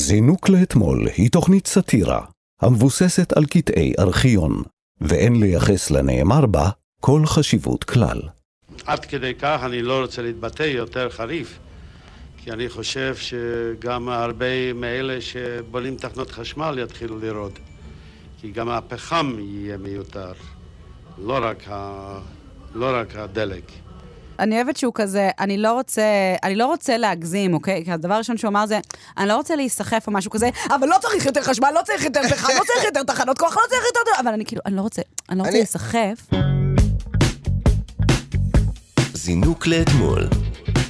זינוק לאתמול היא תוכנית סאטירה המבוססת על קטעי ארכיון, ואין לייחס לנאמר בה כל חשיבות כלל. עד כדי כך אני לא רוצה להתבטא יותר חריף, כי אני חושב שגם הרבה מאלה שבונים תחנות חשמל יתחילו לראות, כי גם הפחם יהיה מיותר, לא רק, ה... לא רק הדלק. אני אוהבת שהוא כזה, אני לא רוצה, אני לא רוצה להגזים, אוקיי? כי הדבר הראשון שהוא אמר זה, אני לא רוצה להיסחף או משהו כזה, אבל לא צריך יותר חשמל, לא צריך יותר פחם, לא צריך יותר תחנות כוח, לא צריך יותר... אבל אני כאילו, אני לא רוצה, אני לא רוצה אני- להיסחף. זינוק לאתמול.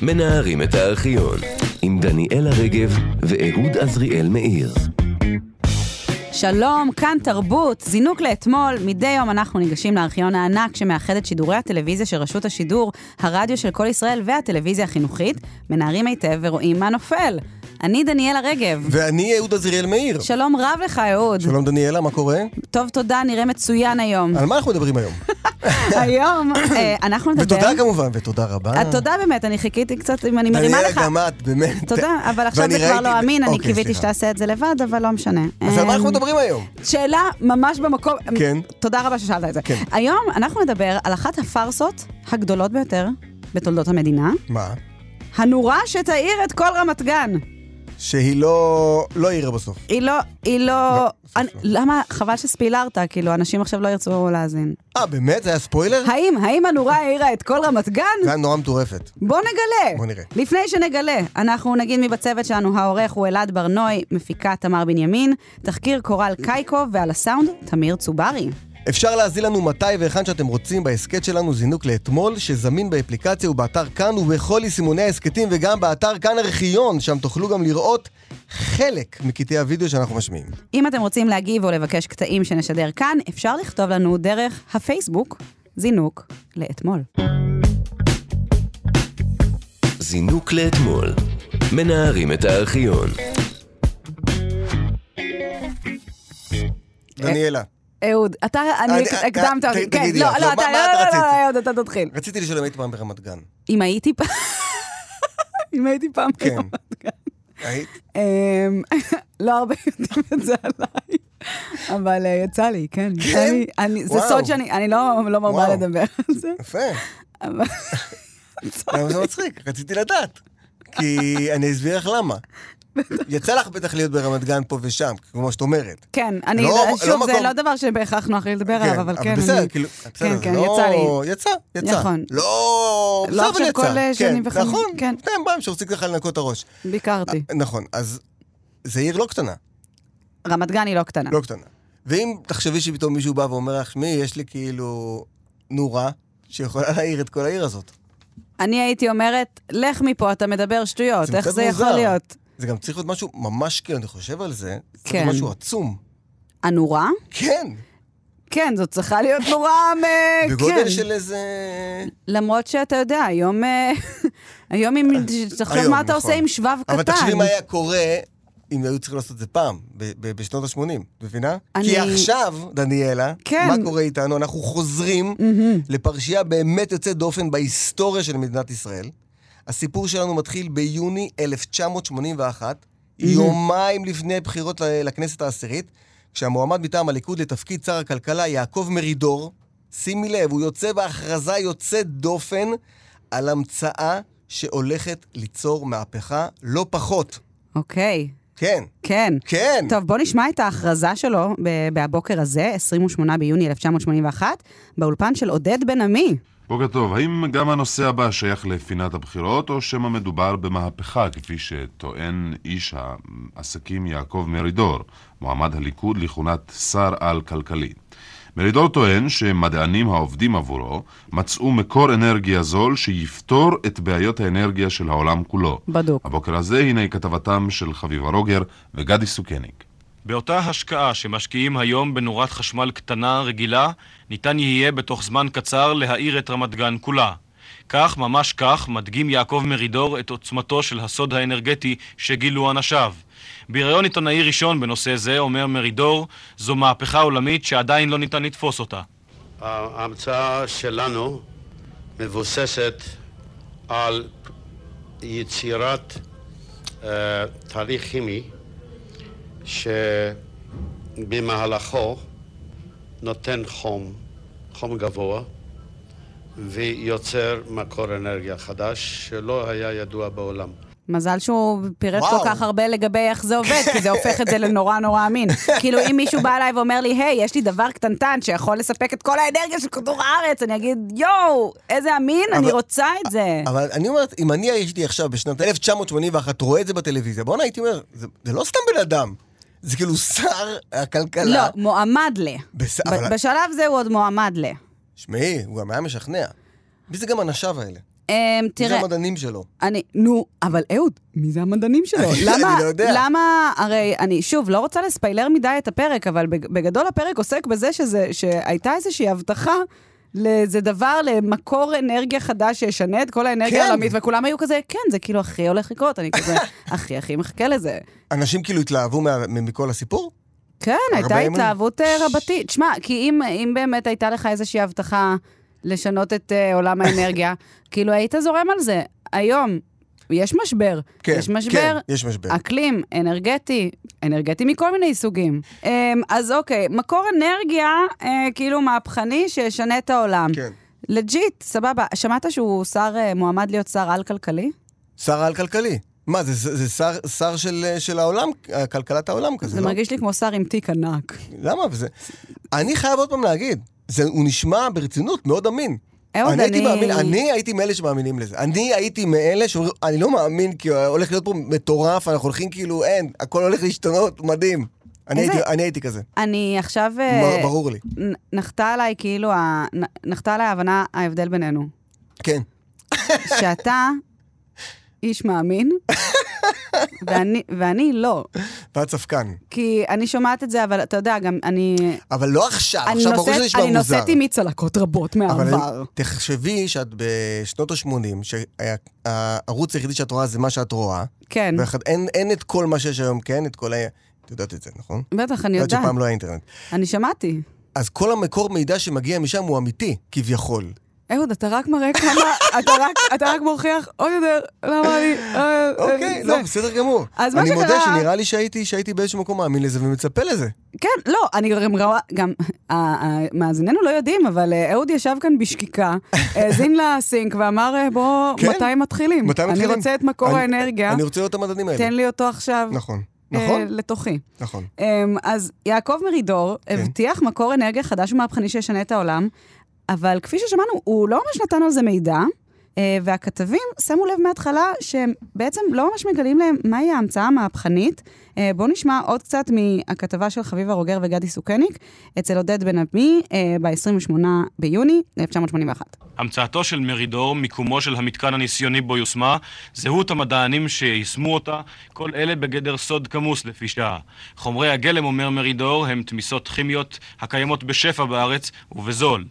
מנערים את הארכיון. עם דניאלה רגב ואהוד עזריאל מאיר. שלום, כאן תרבות, זינוק לאתמול. מדי יום אנחנו ניגשים לארכיון הענק שמאחד את שידורי הטלוויזיה של רשות השידור, הרדיו של כל ישראל והטלוויזיה החינוכית, מנערים היטב ורואים מה נופל. אני דניאלה רגב. ואני אהוד עזריאל מאיר. שלום רב לך, אהוד. שלום דניאלה, מה קורה? טוב, תודה, נראה מצוין היום. על מה אנחנו מדברים היום? היום אה, אנחנו נדבר... ותודה כמובן, ותודה רבה. אה, תודה באמת, אני חיכיתי קצת, אם אני מרימה לך. דניאלה, גם את, באמת. תודה, אבל עכשיו ואני זה כבר ראיתי- לא אמין, אני אוקיי, קיוויתי סליחה. שתעשה את זה לבד, אבל לא משנה. אז על מה אמ, אנחנו מדברים היום? שאלה ממש במקום. כן. תודה רבה ששאלת את זה. כן. היום אנחנו נדבר על אחת הפארסות הגדולות ביותר בתולדות המדינה, מה? הנורה שתאיר את כל רמת גן. שהיא לא... לא העירה בסוף. היא לא, היא לא... לא, בסוף אני- לא. למה, חבל שספילרת, כאילו, אנשים עכשיו לא ירצו להאזין. אה, באמת? זה היה ספוילר? האם, האם הנורה האירה את כל רמת גן? זה היה נורא מטורפת. בוא נגלה. בוא נראה. לפני שנגלה, אנחנו נגיד מי בצוות שלנו, העורך הוא אלעד ברנוי, מפיקה תמר בנימין, תחקיר קורל קייקו, ועל הסאונד, תמיר צוברי. אפשר להזין לנו מתי והיכן שאתם רוצים בהסכת שלנו זינוק לאתמול, שזמין באפליקציה ובאתר כאן ובכל יישומוני ההסכתים וגם באתר כאן ארכיון, שם תוכלו גם לראות חלק מקטעי הוידאו שאנחנו משמיעים. אם אתם רוצים להגיב או לבקש קטעים שנשדר כאן, אפשר לכתוב לנו דרך הפייסבוק, זינוק לאתמול. זינוק לאתמול. מנערים את הארכיון. דניאלה, אהוד, אתה, אני אני- הקדמת אה, אותי. ת- כן, תגידי לא, לך, לא, לא, אתה, מה- לא, מה את לא, רצית? לא, אהוד, אתה תתחיל. רציתי לשאול אם היית פעם ברמת גן. אם הייתי פעם... אם הייתי פעם... כן. היית? אמ, לא הרבה יודעים את זה עליי, אבל אה, יצא לי, כן. יצא כן? לי- אני- זה וואו. סוד שאני אני לא לא מרבה וואו. לדבר על זה. יפה. אבל- למה זה לא מצחיק? רציתי לדעת. כי אני אסביר לך למה. יצא לך בטח להיות ברמת גן פה ושם, כמו שאת אומרת. כן, אני, לא- שוב, לא זה מקום- לא דבר שבהכרח נוח לי לדבר עליו, אבל כן. אבל בסדר, אני- כאילו, כן, בסדר, זה כן, לא... יצא לי. יצא, יצא. נכון. לא... בסדר, אבל לא עכשיו יצא. כל, אה, שני כן, וחמישי, נכון, כן. סתם פעם שרוצים ככה לנקות את הראש. ביקרתי. נכון, אז זה עיר לא קטנה, רמת גן היא לא קטנה. לא קטנה. ואם תחשבי שפתאום מישהו בא ואומר לך, שמי, יש לי כאילו נורה שיכולה להעיר את כל העיר הזאת. אני הייתי אומרת, לך מפה, אתה מדבר שטויות, איך קצת זה יכול מוזר. להיות? זה גם צריך להיות משהו ממש כאילו, אני חושב על זה, צריך כן. להיות משהו עצום. הנורה? כן, כן, זאת צריכה להיות נורה... אה, כן. בגודל של אה, איזה... למרות שאתה יודע, היום... אה, היום אם... תחשוב אה, היום, מה אתה נכון. עושה עם שבב קטן. אבל תחשבי מה היה קורה אם היו צריכים לעשות את זה פעם, ב- ב- בשנות ה-80, מבינה? אני- כי עכשיו, דניאלה, כן. מה קורה איתנו? אנחנו חוזרים לפרשייה באמת יוצאת דופן בהיסטוריה של מדינת ישראל. הסיפור שלנו מתחיל ביוני 1981, יומיים לפני בחירות ל- לכנסת העשירית, כשהמועמד מטעם הליכוד לתפקיד שר הכלכלה, יעקב מרידור, שימי לב, הוא יוצא בהכרזה יוצאת דופן על המצאה שהולכת ליצור מהפכה לא פחות. אוקיי, כן, כן. כן. טוב, בוא נשמע את ההכרזה שלו ב- בהבוקר הזה, 28 ביוני 1981, באולפן של עודד בן עמי. בוקר טוב, האם גם הנושא הבא שייך לפינת הבחירות, או שמא מדובר במהפכה, כפי שטוען איש העסקים יעקב מרידור, מועמד הליכוד לכהונת שר-על כלכלי? מרידור טוען שמדענים העובדים עבורו מצאו מקור אנרגיה זול שיפתור את בעיות האנרגיה של העולם כולו. בדוק. הבוקר הזה הנה כתבתם של חביבה רוגר וגדי סוכניק. באותה השקעה שמשקיעים היום בנורת חשמל קטנה רגילה, ניתן יהיה בתוך זמן קצר להאיר את רמת גן כולה. כך, ממש כך, מדגים יעקב מרידור את עוצמתו של הסוד האנרגטי שגילו אנשיו. בריאיון עיתונאי ראשון בנושא זה, אומר מרידור, זו מהפכה עולמית שעדיין לא ניתן לתפוס אותה. ההמצאה שלנו מבוססת על יצירת אה, תהליך כימי שבמהלכו נותן חום, חום גבוה, ויוצר מקור אנרגיה חדש שלא היה ידוע בעולם. מזל שהוא פירט וואו. כל כך הרבה לגבי איך זה עובד, כי זה הופך את זה לנורא נורא אמין. כאילו, אם מישהו בא אליי ואומר לי, היי, יש לי דבר קטנטן שיכול לספק את כל האנרגיה של כדור הארץ, אני אגיד, יואו, איזה אמין, אני אבל- רוצה את זה. אבל אני אומר, אם אני הייתי עכשיו בשנת 1981 רואה את זה בטלוויזיה, בואנה הייתי אומר, זה, זה לא סתם בן אדם, זה כאילו שר לא, הכלכלה. מועמד ל. בס- ב- אבל- בשלב זה הוא עוד מועמד ל. אמ, שמעי, הוא גם היה משכנע. מי זה גם אנשיו האלה? אמ, מי זה תראה, המדענים שלו? אני, נו, אבל אהוד, מי זה המדענים שלו? אני למה, לא יודע. למה, הרי אני, שוב, לא רוצה לספיילר מדי את הפרק, אבל בג- בגדול הפרק עוסק בזה שזה, שהייתה איזושהי הבטחה לאיזה דבר, למקור אנרגיה חדש שישנה את כל האנרגיה כן. העולמית, וכולם היו כזה, כן, זה כאילו הכי הולך לקרות, אני כזה, הכי הכי מחכה לזה. אנשים כאילו התלהבו מה- מ- מכל הסיפור? כן, הייתה הרבה אמון. התלהבות אה, רבתי. תשמע, כי אם, אם באמת הייתה לך איזושהי הבטחה לשנות את אה, עולם האנרגיה, כאילו היית זורם על זה. היום, יש משבר. כן, יש משבר. אה. כן, יש משבר. אקלים, אנרגטי, אנרגטי מכל מיני סוגים. אמ, אז אוקיי, מקור אנרגיה אה, כאילו מהפכני שישנה את העולם. כן. לג'יט, סבבה. שמעת שהוא שר, אה, מועמד להיות שר על-כלכלי? שר על כלכלי. מה, זה, זה, זה שר, שר של, של העולם, כלכלת העולם כזה, זה לא? מרגיש לי כמו שר עם תיק ענק. למה? וזה... אני חייב עוד פעם להגיד, זה, הוא נשמע ברצינות מאוד אמין. אהוד, אני הייתי אה, אני- מאמין, אני הייתי מאלה שמאמינים לזה. אני הייתי מאלה שאומרים, אני לא מאמין, כי הולך להיות פה מטורף, אנחנו הולכים כאילו, אין, הכל הולך להשתנות, מדהים. אני, איזה- הייתי, אני הייתי כזה, אני עכשיו... אה, מ- ברור לי. נ- נחתה עליי כאילו, ה- נ- נחתה עליי ההבנה, ההבדל בינינו. כן. שאתה איש מאמין, ואני- ואני לא. ואת ספקן. כי אני שומעת את זה, אבל אתה יודע, גם אני... אבל לא עכשיו, אני עכשיו ברור נושאת- שזה נשמע אני מוזר. נושאת עימי צלקות רבות אבל מהעבר. תחשבי שאת בשנות ה-80, שהערוץ היחידי שאת רואה זה מה שאת רואה, כן, ואחד, אין, אין את כל מה שיש היום, כן? את כל ה... את יודעת את זה, נכון? בטח, אני יודעת יודעת. שפעם לא היה אינטרנט. אני שמעתי. אז כל המקור מידע שמגיע משם הוא אמיתי, כביכול. אהוד, אתה רק מראה כמה, אתה רק- אתה רק מוכיח עוד יותר, למה אני... אה, אוקיי, אה, לא, זה. בסדר גמור. אז מה אני מודה שקרה- שנראה לי שהייתי, שהייתי באיזשהו מקום מאמין לזה ומצפה לזה. כן, לא, אני גם רואה, גם אה, מאזיננו לא יודעים, אבל אה, אהוד ישב כאן בשקיקה, האזין לסינק ואמר, אה, בוא, כן. מתי מתחילים? מתי מתחילים? אני רוצה את מקור אני- האנרגיה, אני רוצה לראות את המדדים האלה. תן לי אותו עכשיו נכון. אה, נכון, לתוכי. נכון. אמ, אז יעקב מרידור כן. הבטיח מקור אנרגיה חדש ומהפכני שישנה את העולם, אבל כפי ששמענו, הוא לא ממש נתן על זה מידע, אה, והכתבים שמו לב מההתחלה שהם בעצם לא ממש מגלים להם מהי ההמצאה המהפכנית. אה, בואו נשמע עוד קצת מהכתבה של חביבה רוגר וגדי סוכניק אצל עודד בן עמי אה, ב-28 ביוני 1981. המצאתו של מרידור, מיקומו של המתקן הניסיוני בו יושמה, זהות המדענים שיישמו אותה, כל אלה בגדר סוד כמוס לפי שעה. חומרי הגלם, אומר מרידור, הם תמיסות כימיות הקיימות בשפע בארץ ובזול.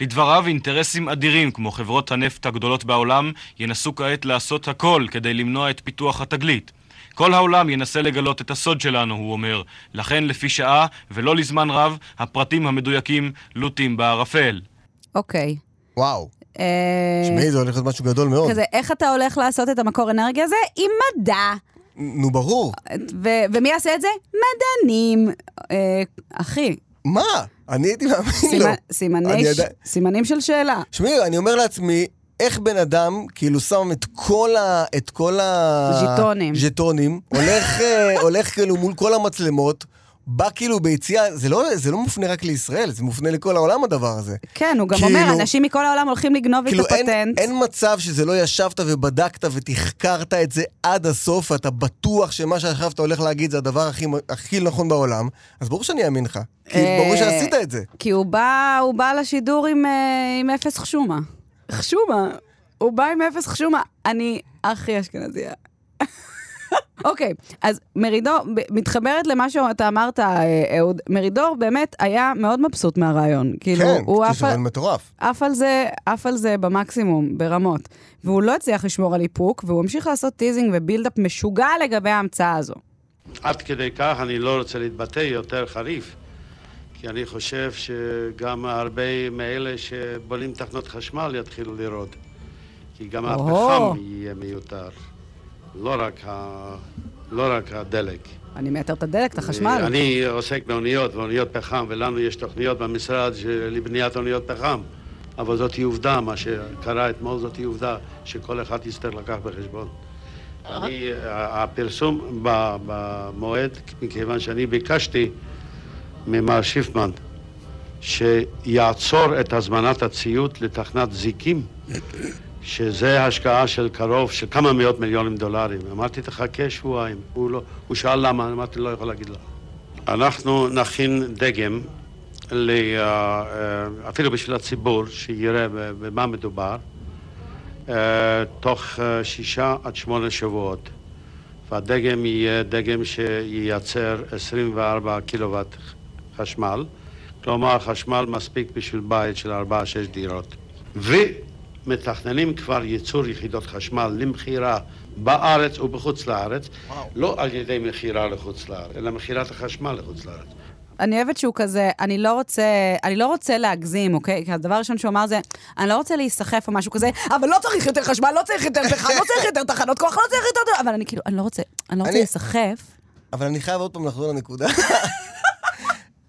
לדבריו, אינטרסים אדירים, כמו חברות הנפט הגדולות בעולם, ינסו כעת לעשות הכל כדי למנוע את פיתוח התגלית. כל העולם ינסה לגלות את הסוד שלנו, הוא אומר. לכן, לפי שעה, ולא לזמן רב, הפרטים המדויקים לוטים בערפל. אוקיי. וואו. אה, שמעי, זה הולך להיות משהו גדול מאוד. כזה, איך אתה הולך לעשות את המקור אנרגיה הזה? עם מדע. נו, ברור. ו- ומי יעשה את זה? מדענים. אה, אחי, מה? אני הייתי מאמין לו. סימן- סימני אני ש- עדיין- סימנים של שאלה. שמעי, אני אומר לעצמי, איך בן אדם כאילו שם את כל ה... את כל ה... ז'יטונים. ז'יטונים, הולך, אה, הולך כאילו מול כל המצלמות, בא כאילו ביציאה, זה לא, זה לא מופנה רק לישראל, זה מופנה לכל העולם הדבר הזה. כן, הוא גם כאילו- אומר, אנשים מכל העולם הולכים לגנוב את כאילו אין, הפטנט. אין מצב שזה לא ישבת ובדקת ותחקרת את זה עד הסוף, ואתה בטוח שמה שעכשיו אתה הולך להגיד זה הדבר הכי, הכי נכון בעולם, אז ברור שאני אאמין לך. כי אה, כאילו, ברור שעשית את זה. כי הוא בא, הוא בא לשידור עם, אה, עם אפס חשומה. חשומה. הוא בא עם אפס חשומה. אני הכי אשכנזייה. אוקיי, אז מרידור, ב- מתחברת למה שאתה אמרת, אה, אהוד, מרידור באמת היה מאוד מבסוט מהרעיון. כאילו, כן, הוא זה אף על- שוויון מטורף. עף על זה, עף על זה במקסימום, ברמות. והוא לא הצליח לשמור על איפוק, והוא המשיך לעשות טיזינג ובילדאפ משוגע לגבי ההמצאה הזו. עד כדי כך אני לא רוצה להתבטא יותר חריף, כי אני חושב שגם הרבה מאלה שבונים תחנות חשמל יתחילו לרעוד, כי גם או. הפחם יהיה מיותר, לא רק ה- לא רק הדלק. אני מייתר את הדלק, את החשמל. אה, אני עוסק באוניות, באוניות פחם, ולנו יש תוכניות במשרד של- לבניית אוניות פחם. אבל זאת היא עובדה, מה שקרה אתמול זאת היא עובדה שכל אחד יצטרך לקח בחשבון. אני, ה- הפרסום ב- במועד, מכיוון שאני ביקשתי ממר שיפמן שיעצור את הזמנת הציוד לתחנת זיקים, שזה השקעה של קרוב, של כמה מאות מיליונים דולרים. אמרתי, תחכה שבועיים. הוא, לא, הוא שאל למה, אמרתי, לא יכול להגיד לך. אנחנו נכין דגם, ל, אה, אה, אפילו בשביל הציבור, שיראה ב- במה מדובר, אה, תוך אה, שישה עד שמונה שבועות. והדגם יהיה דגם שייצר 24 קילוואט חשמל, כלומר חשמל מספיק בשביל בית של 4-6 דירות. ומתכננים כבר ייצור יחידות חשמל למכירה בארץ ובחוץ לארץ, וואו. לא על ידי מכירה לחוץ לארץ, אלא מכירת החשמל לחוץ לארץ. אני אוהבת שהוא כזה, אני לא רוצה, אני לא רוצה להגזים, אוקיי? כי הדבר הראשון שהוא אמר זה, אני לא רוצה להיסחף או משהו כזה, אבל לא צריך יותר חשמל, לא צריך יותר פחם, לא צריך יותר תחנות כוח, לא צריך יותר... אבל אני כאילו, אני לא רוצה, אני לא רוצה אני- להיסחף. אבל אני חייב עוד פעם לחזור לנקודה.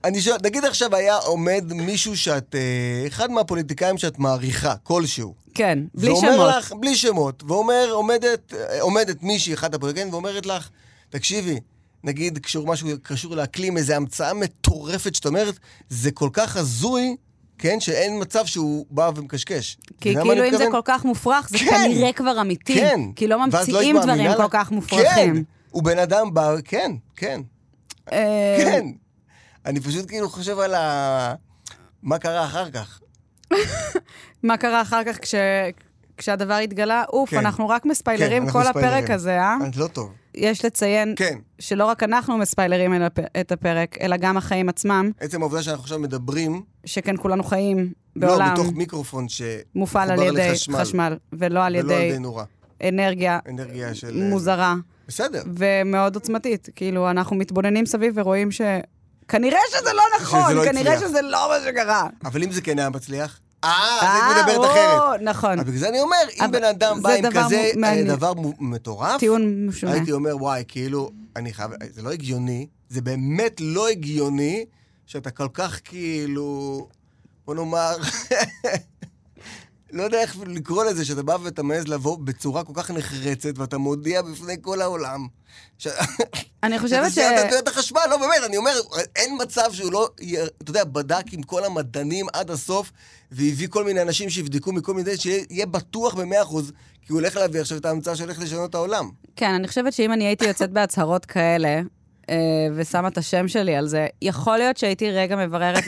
אני שואל, נגיד עכשיו היה עומד מישהו שאת, אה, אחד מהפוליטיקאים שאת מעריכה, כלשהו. כן, בלי שמות. ואומר לך, בלי שמות, ואומר, עומדת, אה, עומדת מישהי, אחת הפוליטיקאים, ואומרת לך, תקשיבי, נגיד קשור משהו קשור לאקלים, איזו המצאה מטורפת שאת אומרת, זה כל כך הזוי, כן, שאין מצב שהוא בא ומקשקש. אתה כי יודע מה אני כאילו אם זה מתכוון? כל כך מופרך, זה כן. כנראה כבר אמיתי. כן. כי לא ואז לא ממציאים היית דברים מאמינה כל לה? כך מופרכים. כן, הוא בן אדם בא, כן, כן, אה, כן. אני פשוט כאילו חושב על ה... מה קרה אחר כך. מה קרה אחר כך כש... כשהדבר התגלה, אוף, כן. אנחנו רק כן, מספיילרים אנחנו כל ספיילרים. הפרק הזה, אה? את לא טוב. יש לציין כן. שלא רק אנחנו מספיילרים אל הפ- את הפרק, אלא גם החיים עצמם, עצם העובדה שאנחנו עכשיו מדברים, שכן כולנו חיים לא בעולם בתוך מיקרופון שמחובר מופעל על ידי לחשמל. חשמל, ולא על ולא על ידי ידי נורה. אנרגיה אנרגיה של... אה, מוזרה בסדר. ומאוד עוצמתית. כאילו, אנחנו מתבוננים סביב ורואים ש... כנראה שזה לא שזה נכון, לא כנראה הצליח. שזה לא מה שקרה. אבל אם זה כן היה מצליח, אה, אז היית מדברת אחרת. או, נכון. אז בגלל זה אני אומר, אם אבל בן אדם בא זה עם דבר כזה מ- אה, מעניין. דבר מו- מטורף, טיעון משונה. הייתי אומר, וואי, כאילו, אני חייב, זה לא הגיוני, זה באמת לא הגיוני שאתה כל כך כאילו, בוא נאמר, לא יודע איך אפילו לקרוא לזה, שאתה בא ואתה מעז לבוא בצורה כל כך נחרצת, ואתה מודיע בפני כל העולם. ש... אני חושבת ש... שאתה תראה את החשמל, לא באמת, אני אומר, אין מצב שהוא לא, י- אתה יודע, בדק עם כל המדענים עד הסוף, והביא כל מיני אנשים שיבדקו מכל מיני, שיהיה בטוח במאה אחוז, כי הוא הולך להביא עכשיו את ההמצאה שהולכת לשנות את העולם. כן, אני חושבת שאם אני הייתי יוצאת בהצהרות כאלה, אה, ושמה את השם שלי על זה, יכול להיות שהייתי רגע מבררת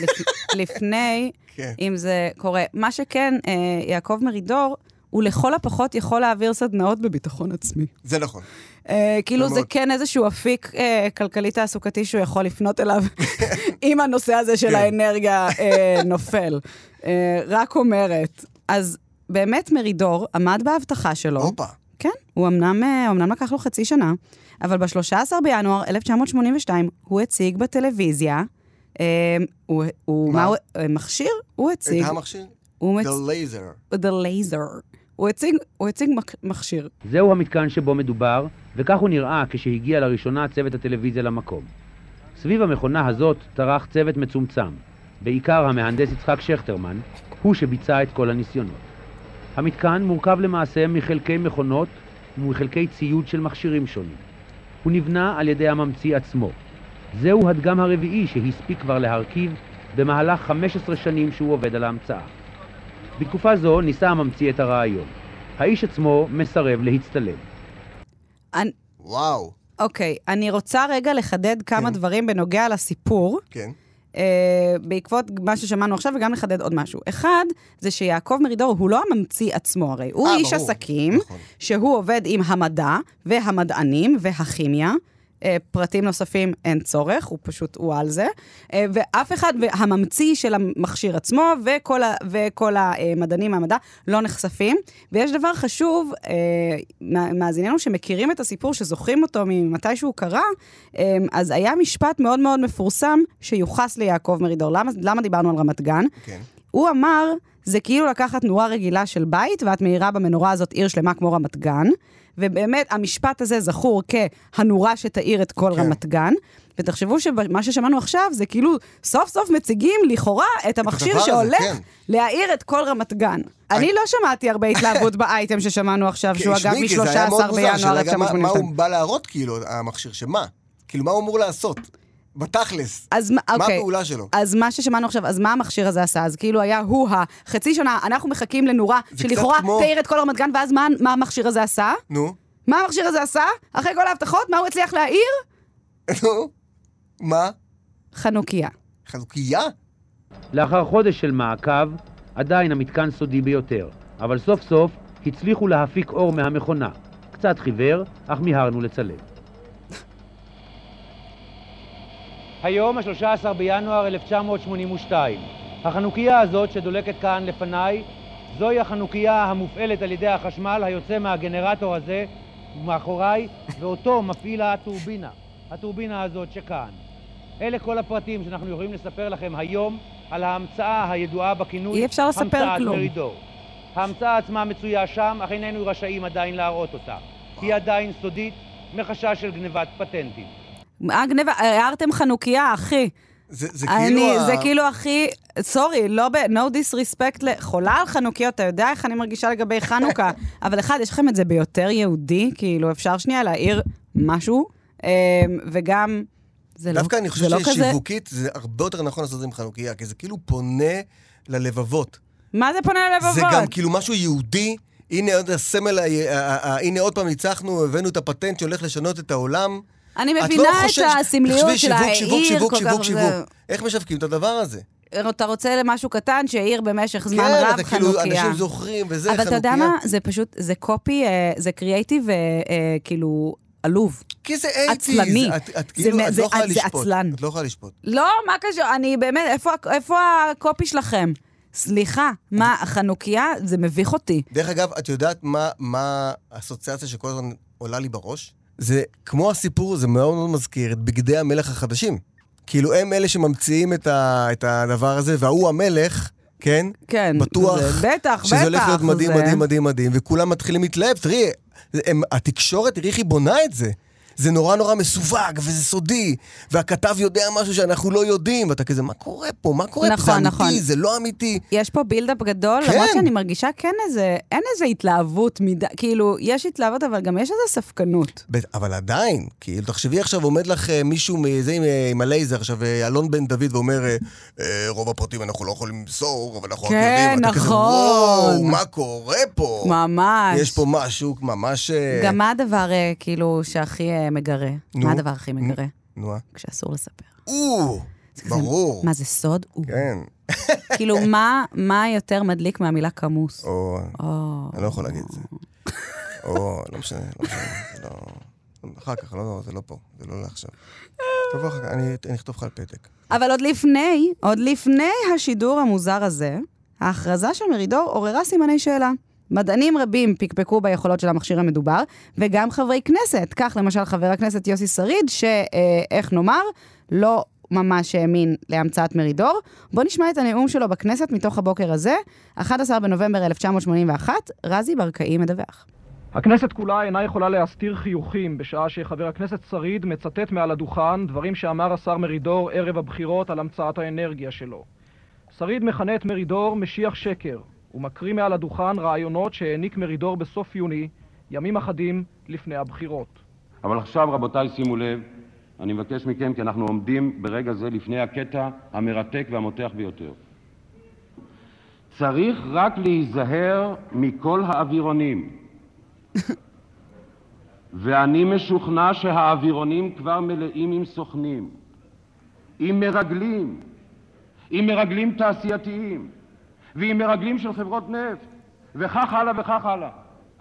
לפ- לפני, כן. אם זה קורה. מה שכן, אה, יעקב מרידור, הוא לכל הפחות יכול להעביר סדנאות בביטחון עצמי. זה נכון. אה, כאילו מאוד. זה כן איזשהו אפיק אה, כלכלי תעסוקתי שהוא יכול לפנות אליו, אם הנושא הזה כן. של האנרגיה אה, נופל. אה, רק אומרת. אז באמת מרידור עמד בהבטחה שלו. הופה. כן, הוא אמנם, אה, אמנם לקח לו חצי שנה, אבל ב-13 בינואר 1982 הוא הציג בטלוויזיה, אה, הוא, הוא, מה? מה? הוא, אה, מכשיר, הוא את הציג, המכשיר? הוא The מצ... laser. The laser. הוא הציג, הוא הציג מק- מכשיר. זהו המתקן שבו מדובר, וכך הוא נראה כשהגיע לראשונה צוות הטלוויזיה למקום. סביב המכונה הזאת טרח צוות מצומצם, בעיקר המהנדס יצחק שכטרמן, הוא שביצע את כל הניסיונות. המתקן מורכב למעשה מחלקי מכונות ומחלקי ציוד של מכשירים שונים. הוא נבנה על ידי הממציא עצמו. זהו הדגם הרביעי שהספיק כבר להרכיב במהלך 15 שנים שהוא עובד על ההמצאה. בתקופה זו ניסה הממציא את הרעיון. האיש עצמו מסרב להצטלם. אני, וואו. אוקיי, אני רוצה רגע לחדד כמה כן. דברים בנוגע לסיפור. כן. אה, בעקבות מה ששמענו עכשיו, וגם לחדד עוד משהו. אחד, זה שיעקב מרידור הוא לא הממציא עצמו הרי, הוא אה, איש ברור. עסקים, נכון. שהוא עובד עם המדע, והמדענים, והכימיה. אה, פרטים נוספים אין צורך, הוא פשוט, הוא על זה. אה, ואף אחד, והממציא של המכשיר עצמו, וכל, ה, וכל המדענים מהמדע לא נחשפים. ויש דבר חשוב, אה, מה- מאזיננו שמכירים את הסיפור, שזוכרים אותו ממתי שהוא קרה, אה, אז היה משפט מאוד מאוד מפורסם שיוחס ליעקב מרידור. למה, למה דיברנו על רמת גן? כן. הוא אמר, זה כאילו לקחת נורה רגילה של בית, ואת מאירה במנורה הזאת עיר שלמה כמו רמת גן, ובאמת, המשפט הזה זכור כ"הנורה שתאיר את כל כן. רמת גן". ותחשבו שמה ששמענו עכשיו זה כאילו סוף סוף מציגים לכאורה את המכשיר הדבר הזה, שהולך כן. להאיר את כל רמת גן. אני לא שמעתי הרבה התלהבות באייטם ששמענו עכשיו, שהוא אגב שמי, כן, כי זה היה מאוד מ-13 מוזר, בינואר שאלה גם מה- מה 1982. הוא בא להראות, כאילו, המכשיר שמה? כאילו, מה הוא אמור לעשות? בתכלס. אז מה, מה אוקיי. הפעולה שלו? אז מה ששמענו עכשיו, אז מה המכשיר הזה עשה? אז כאילו היה הוא-הא, חצי שנה, אנחנו מחכים לנורה, זה שלכאורה קצת כמו- תאיר את כל רמת גן, ואז מה, מה המכשיר הזה עשה? נו, מה המכשיר הזה עשה? אחרי כל ההבטחות, מה הוא הצליח להעיר? נו, מה? חנוכיה. חנוכיה? לאחר חודש של מעקב, עדיין המתקן סודי ביותר, אבל סוף סוף הצליחו להפיק אור מהמכונה. קצת חיוור, אך מיהרנו לצלם. היום, ה-13 בינואר 1982. החנוכיה הזאת שדולקת כאן לפניי, זוהי החנוכיה המופעלת על ידי החשמל היוצא מהגנרטור הזה מאחוריי, ואותו מפעילה הטורבינה, הטורבינה הזאת שכאן. אלה כל הפרטים שאנחנו יכולים לספר לכם היום על ההמצאה הידועה בכינוי אי אפשר לספר המצאת כלום. מרידור. ההמצאה עצמה מצויה שם, אך איננו רשאים עדיין להראות אותה. היא עדיין סודית, מחשש של גנבת פטנטים. מה גניבה? הערתם חנוכיה, אחי. זה זה אני, כאילו... זה ה- כאילו הכי, סורי, לא ב... no disrespect לחולה על חנוכיות, אתה יודע איך אני מרגישה לגבי חנוכה. אבל אחד, יש לכם את זה ביותר יהודי, כאילו, אפשר שנייה להעיר משהו, אמ, וגם, זה לא, דווקא אני זה חושב לא כזה... ששיווקית זה הרבה יותר נכון לעשות את זה עם חנוכיה, כי זה כאילו פונה ללבבות. מה זה פונה ללבבות? זה גם כאילו משהו יהודי. הנה עוד הסמל, ה- ה- ה- ה- הנה עוד פעם ניצחנו, הבאנו את הפטנט שהולך לשנות את העולם. אני את לא מבינה חושש- את הסמליות תחשבי, של שיווק, העיר, שיווק, שיווק, כל שיווק, כך שיווק. איך משווקים את הדבר הזה? זה... אתה רוצה למשהו קטן שהעיר במשך זמן כן, רב אתה חנוכיה. כאילו, אנשים זוכרים, וזה אבל חנוכיה. אתה יודע מה? זה פשוט, זה קופי, אה, זה קריאייטיב, אה, אה, כאילו, עלוב. כי זה אייטיז. עצלני. את, את זה כאילו, מה- את זה- לא יכולה זה לשפוט. עצלן. את לא יכולה לשפוט. לא, מה קשור? אני באמת, איפה, ה- איפה הקופי שלכם? סליחה, מה, החנוכיה? זה מביך אותי. דרך אגב, את יודעת מה, מה האסוציאציה שכל הזמן עולה לי בראש? זה כמו הסיפור, זה מאוד מאוד מזכיר את בגדי המלך החדשים. כאילו, הם אלה שממציאים את, ה, את הדבר הזה, וההוא המלך, כן? כן. בטוח זה, בטח, שזה בטח. הולך להיות מדהים, זה- מדהים, מדהים, מדהים, וכולם מתחילים להתלהב. תראי, הם, התקשורת, תראי איך היא בונה את זה. זה נורא נורא מסווג, וזה סודי, והכתב יודע משהו שאנחנו לא יודעים, ואתה כזה, מה קורה פה? מה קורה פה? נכון, זה אמיתי, נכון. זה לא אמיתי. יש פה בילדאפ גדול, כן. למרות שאני מרגישה כן איזה, אין איזה התלהבות מדי, כאילו, יש התלהבות, אבל גם יש איזה ספקנות. ב- אבל עדיין, כאילו, תחשבי עכשיו, עומד לך אה, מישהו מזה עם, אה, עם הלייזר, עכשיו אה, אלון בן דוד, ואומר, אה, אה, רוב הפרטים אנחנו לא יכולים למסור, אבל אנחנו רק כן, יודעים. אתה כזה, נכון. וואו, מה קורה פה? ממש. יש פה משהו ממש... אה, גם מה הדבר, אה, כאילו, שהכי אה, מגרה? נו. מה הדבר הכי מגרה? נו, אה. כשאסור לספר. או, ברור. מה זה סוד? הוא. כן. כאילו, מה- מה יותר מדליק מהמילה כמוס? או, או. אני לא יכול להגיד את זה. או, לא משנה, לא משנה. זה לא... אחר כך, לא, זה לא פה, זה לא לעכשיו. תבוא אחר כך, אני אני אכתוב לך על פתק. אבל עוד לפני, עוד לפני השידור המוזר הזה, ההכרזה של מרידור עוררה סימני שאלה. מדענים רבים פקפקו ביכולות של המכשיר המדובר, וגם חברי כנסת. כך למשל חבר הכנסת יוסי שריד, שאיך נאמר, לא ממש האמין להמצאת מרידור. בואו נשמע את הנאום שלו בכנסת מתוך הבוקר הזה, 11 בנובמבר 1981, רזי ברקאי מדווח. הכנסת כולה אינה יכולה להסתיר חיוכים בשעה שחבר הכנסת שריד מצטט מעל הדוכן דברים שאמר השר מרידור ערב הבחירות על המצאת האנרגיה שלו. שריד מכנה את מרידור משיח שקר ומקריא מעל הדוכן רעיונות שהעניק מרידור בסוף יוני, ימים אחדים לפני הבחירות. אבל עכשיו, רבותיי, שימו לב, אני מבקש מכם, כי אנחנו עומדים ברגע זה לפני הקטע המרתק והמותח ביותר. צריך רק להיזהר מכל האווירונים. ואני משוכנע שהאווירונים כבר מלאים עם סוכנים, עם מרגלים, עם מרגלים תעשייתיים, ועם מרגלים של חברות נפט, וכך הלאה וכך הלאה.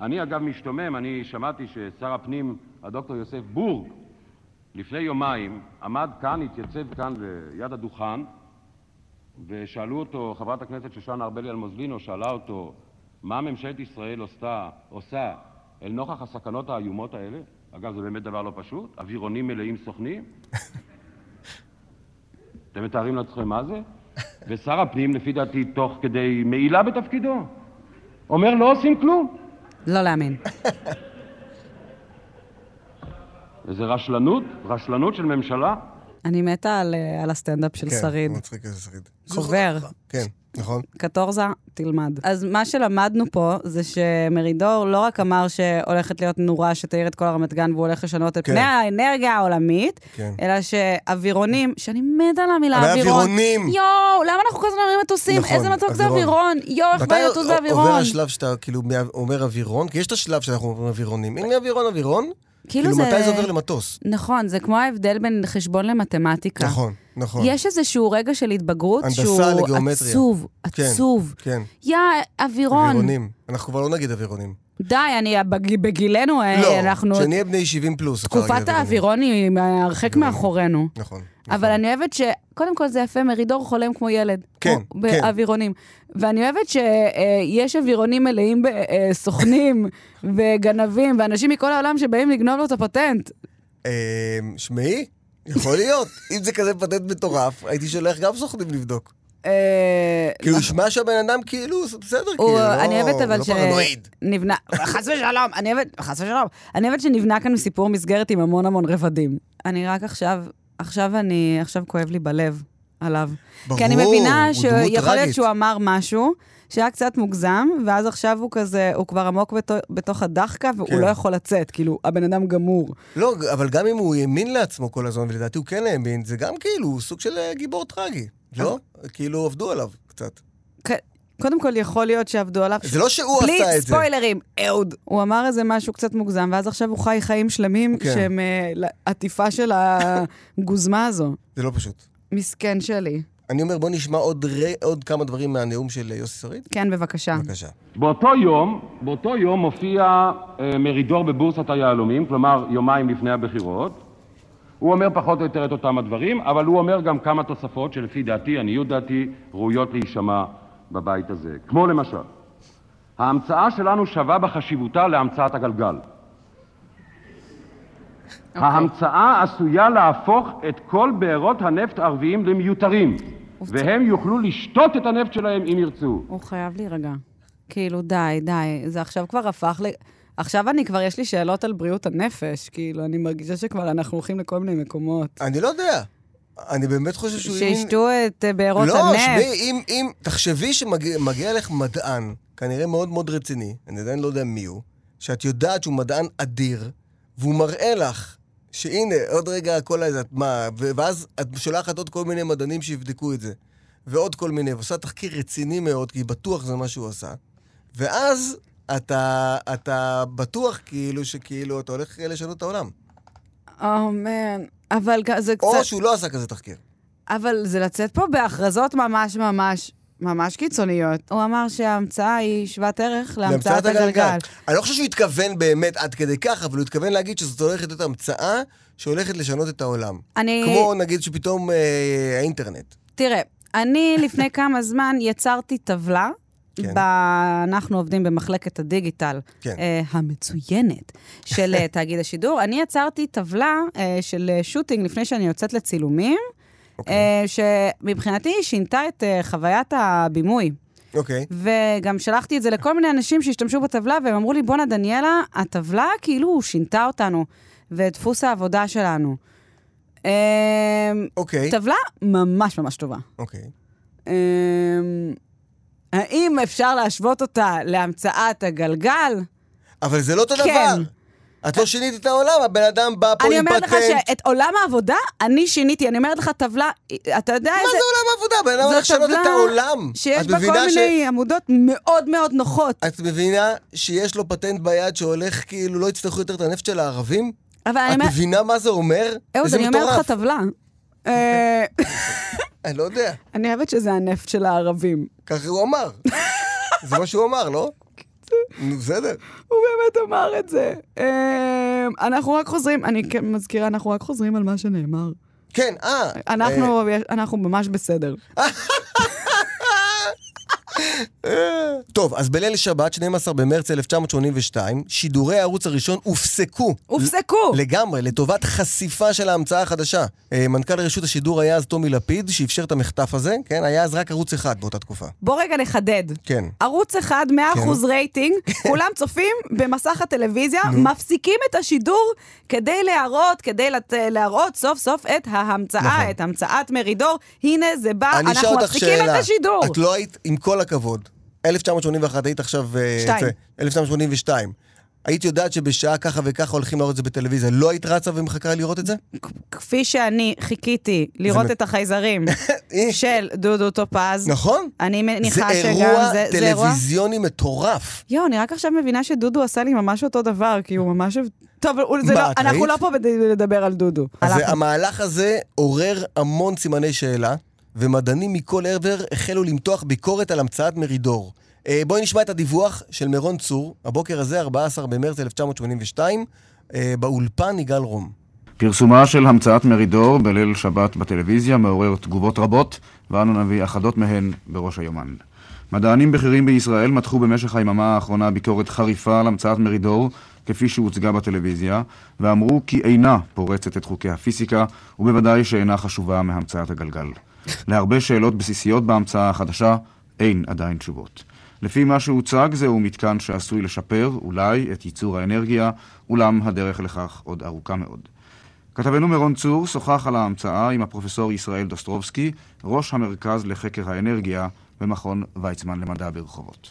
אני אגב משתומם, אני שמעתי ששר הפנים, הדוקטור יוסף בורג, לפני יומיים עמד כאן, התייצב כאן ליד הדוכן, ושאלו אותו, חברת הכנסת שושנה ארבלי אלמוזלינו שאלה אותו, מה ממשלת ישראל עושה, עושה אל נוכח הסכנות האיומות האלה? אגב, זה באמת דבר לא פשוט, אווירונים מלאים סוכנים. אתם מתארים לעצמכם מה זה? ושר הפנים, לפי דעתי, תוך כדי מעילה בתפקידו, אומר לא עושים כלום. לא להאמין. איזה רשלנות? רשלנות של ממשלה? אני מתה על, אה, על הסטנדאפ של כן, שריד. הוא מצחיק איזה שריד. חובר. כן, נכון. קטורזה, תלמד. אז מה שלמדנו פה זה שמרידור לא רק אמר שהולכת להיות נורה שתאיר את כל הרמת גן והוא הולך לשנות את כן. פני האנרגיה העולמית, כן. אלא שאווירונים, שאני מתה על המילה אבל אווירון. האווירונים! יואו, למה אנחנו כל הזמן אומרים מטוסים? נכון, איזה מתוק זה אווירון. אווירון? יואו, איך בא לי לטוס עובר באווירון? השלב שאתה כאילו מה- אומר אווירון? כי יש את השלב שאנחנו אומרים אווירונים. הנה אווירון, אווירון. כאילו זה... מתי זה עובר למטוס? נכון, זה כמו ההבדל בין חשבון למתמטיקה. נכון, נכון. כן. יש איזשהו רגע של התבגרות הנדסה שהוא לגאומטריה. עצוב, כן, עצוב. נכון. כן, יא, אווירון, אווירונים. אנחנו כבר לא נגיד אווירונים. די, אני, בג- בגילנו, אה, לא, אנחנו... כשנהיה בני 70 פלוס. אפשר להגיד תקופת אווירונים. האווירון היא הרחק מאחורינו. נכון. נכון. אבל אני אוהבת ש... קודם כל זה יפה, מרידור חולם כמו ילד. כן, כמו כן. באווירונים. ואני אוהבת שיש אווירונים מלאים בסוכנים וגנבים ואנשים מכל העולם שבאים לגנוב לו את הפטנט. אמ, שמעי, יכול להיות. אם זה כזה פטנט מטורף, הייתי שולח גם סוכנים לבדוק. אה, כאילו, ישמע שהבן אדם כאילו, זה בסדר, כאילו, הוא, לא- אני אוהבת הוא אבל לא ש... פרנואיד. נבנה, חס ושלום, אני אוהבת, חס ושלום. אני אוהבת שנבנה כאן סיפור מסגרת עם המון המון רבדים. אני רק עכשיו, עכשיו אני, עכשיו כואב לי בלב עליו. כי אני ברור, הוא מבינה דמות שיכול להיות טרגית. שהוא אמר משהו שהיה קצת מוגזם, ואז עכשיו הוא כזה, הוא כבר עמוק בתו- בתוך הדחקה, והוא כן. לא יכול לצאת, כאילו, הבן אדם גמור. לא, אבל גם אם הוא האמין לעצמו כל הזמן, ולדעתי הוא כן האמין, זה גם כאילו הוא סוג של אה, גיבור טרגי, לא? אה. כאילו עבדו עליו קצת. קודם כל, יכול להיות שעבדו עליו. זה לא שהוא בלי עשה את זה. ספוילרים, אהוד. הוא אמר איזה משהו קצת מוגזם, ואז עכשיו הוא חי חיים שלמים כן. שהם אה, ל- עטיפה של הגוזמה הזו. זה לא פשוט. מסכן שלי. אני אומר, בוא נשמע עוד ר- עוד כמה דברים מהנאום של אה, יוסי שריד. כן, בבקשה. בבקשה. באותו יום, באותו יום הופיע אה, מרידור בבורסת היהלומים, כלומר יומיים לפני הבחירות. הוא אומר פחות או יותר את אותם הדברים, אבל הוא אומר גם כמה תוספות שלפי דעתי, עניות דעתי, ראויות להישמע בבית הזה. כמו למשל, ההמצאה שלנו שווה בחשיבותה להמצאת הגלגל. ההמצאה עשויה להפוך את כל בארות הנפט הערביים למיותרים, והם יוכלו לשתות את הנפט שלהם אם ירצו. הוא חייב להירגע. כאילו, די, די. זה עכשיו כבר הפך ל... עכשיו אני כבר, יש לי שאלות על בריאות הנפש. כאילו, אני מרגישה שכבר אנחנו הולכים לכל מיני מקומות. אני לא יודע. אני באמת חושב שהוא... האמין- שישתו את אה, בארות לא, הנפט. שמעי, אם, אם, תחשבי שמגיע לך מדען, כנראה מאוד מאוד רציני, אני עדיין לא יודע מי הוא, שאת יודעת שהוא מדען אדיר, והוא מראה לך שהנה, עוד רגע כל ה... את מה, ו- ואז את שולחת עוד כל מיני מדענים שיבדקו את זה, ועוד כל מיני, ועושה תחקיר רציני מאוד, כי בטוח זה מה שהוא עשה, ואז אתה, אתה בטוח כאילו שכאילו אתה הולך לשנות את העולם. אומן. Oh, אבל כ- זה או קצת... שהוא לא עשה כזה תחקיר. אבל זה לצאת פה בהכרזות ממש ממש... ממש קיצוניות. הוא אמר שההמצאה היא שוות ערך להמצאת הגלגל. אני לא חושב שהוא התכוון באמת עד כדי כך, אבל הוא התכוון להגיד שזאת הולכת להיות המצאה שהולכת לשנות את העולם. אני... כמו נגיד שפתאום אה, האינטרנט. תראה, אני לפני כמה זמן יצרתי טבלה. כן. כן. ב- אנחנו עובדים במחלקת הדיגיטל כן. אה, המצוינת של אה, תאגיד השידור. אני יצרתי טבלה אה, של אה, שוטינג לפני שאני יוצאת לצילומים, אוקיי. אה, שמבחינתי שינתה את אה, חוויית הבימוי. אוקיי. וגם שלחתי את זה לכל מיני אנשים שהשתמשו בטבלה, והם אמרו לי, בואנה, דניאלה, הטבלה כאילו שינתה אותנו, ואת דפוס העבודה שלנו. אה, אוקיי. טבלה ממש ממש טובה. אוקיי. אמ, האם אפשר להשוות אותה להמצאת הגלגל? אבל זה לא אותו כן. דבר. את לא שינית את העולם, הבן אדם בא פה אני עם אומרת לך פטנט. שאת עולם העבודה אני שיניתי, אני אומרת לך טבלה, אתה יודע מה איזה... זה עולם העבודה? הבן אדם הולך לשנות את העולם. שיש את בה מבינה כל ש- מיני עמודות מאוד מאוד נוחות. את מבינה שיש לו פטנט ביד שהולך כאילו לא יצטרכו יותר את הנפט של הערבים? אבל אני את אומרת, מבינה מה זה אומר? אהוד, זה אני אומרת לך מטורף. טבלה. אה, אני לא יודע. אני אוהבת שזה הנפט של הערבים. ככה הוא אמר. זה מה שהוא אמר, לא? נו, בסדר. הוא באמת אמר את זה. אה, אנחנו רק חוזרים, אני כן מזכירה, אנחנו רק חוזרים על מה שנאמר. כן, אה. אנחנו, אנחנו ממש בסדר. אה. טוב, אז בליל שבת, 12 במרץ 1982, שידורי הערוץ הראשון הופסקו. הופסקו! לגמרי, לטובת חשיפה של ההמצאה החדשה. אה, מנכ"ל רשות השידור היה אז טומי לפיד, שאפשר את המחטף הזה, כן? היה אז רק ערוץ אחד באותה תקופה. בוא רגע נחדד. כן. ערוץ אחד, 100% רייטינג, כולם צופים במסך הטלוויזיה, מפסיקים את השידור כדי להראות, כדי לת... להראות סוף סוף את ההמצאה, את המצאת מרידור. הנה זה בא, נכון. אני אשאל אה, אנחנו אותך מפסיקים שאלה. את השידור. את לא היית, עם כל הכבוד, 1981 היית עכשיו... אה, שתיים. זה, 1982. היית יודעת שבשעה ככה וככה הולכים להראות את זה בטלוויזיה, לא היית רצה ומחכה לראות את זה? כפי שאני חיכיתי לראות מ- אה. את החייזרים של דודו טופז, נכון? אני זה מניחה שגם אירוע זה, זה אירוע... טלוויזיוני מטורף. יואו, אני רק עכשיו מבינה שדודו עשה לי ממש אותו דבר, כי הוא ממש... טוב, הוא- זה מה, לא, את אנחנו ראית? לא פה כדי לדבר על דודו. אז הלכנו. המהלך הזה עורר המון סימני שאלה, ומדענים מכל עבר החלו למתוח ביקורת על המצאת מרידור. אה, בואי נשמע את הדיווח של מירון צור, הבוקר הזה, 14 במרץ 1982, אה, באולפן יגאל רום. פרסומה של המצאת מרידור בליל שבת בטלוויזיה מעורר תגובות רבות, ואנו נביא אחדות מהן בראש היומן. מדענים בכירים בישראל מתחו במשך היממה האחרונה ביקורת חריפה על המצאת מרידור, כפי שהוצגה בטלוויזיה, ואמרו כי אינה פורצת את חוקי הפיזיקה, ובוודאי שאינה חשובה מהמצאת הגלגל. להרבה שאלות בסיסיות בהמצאה החדשה אין עדיין תשובות. לפי מה שהוצג, זהו מתקן שעשוי לשפר, אולי, את ייצור האנרגיה, אולם הדרך לכך עוד ארוכה מאוד. כתבנו מירון צור שוחח על ההמצאה עם הפרופסור ישראל דוסטרובסקי, ראש המרכז לחקר האנרגיה במכון ויצמן למדע ברחובות.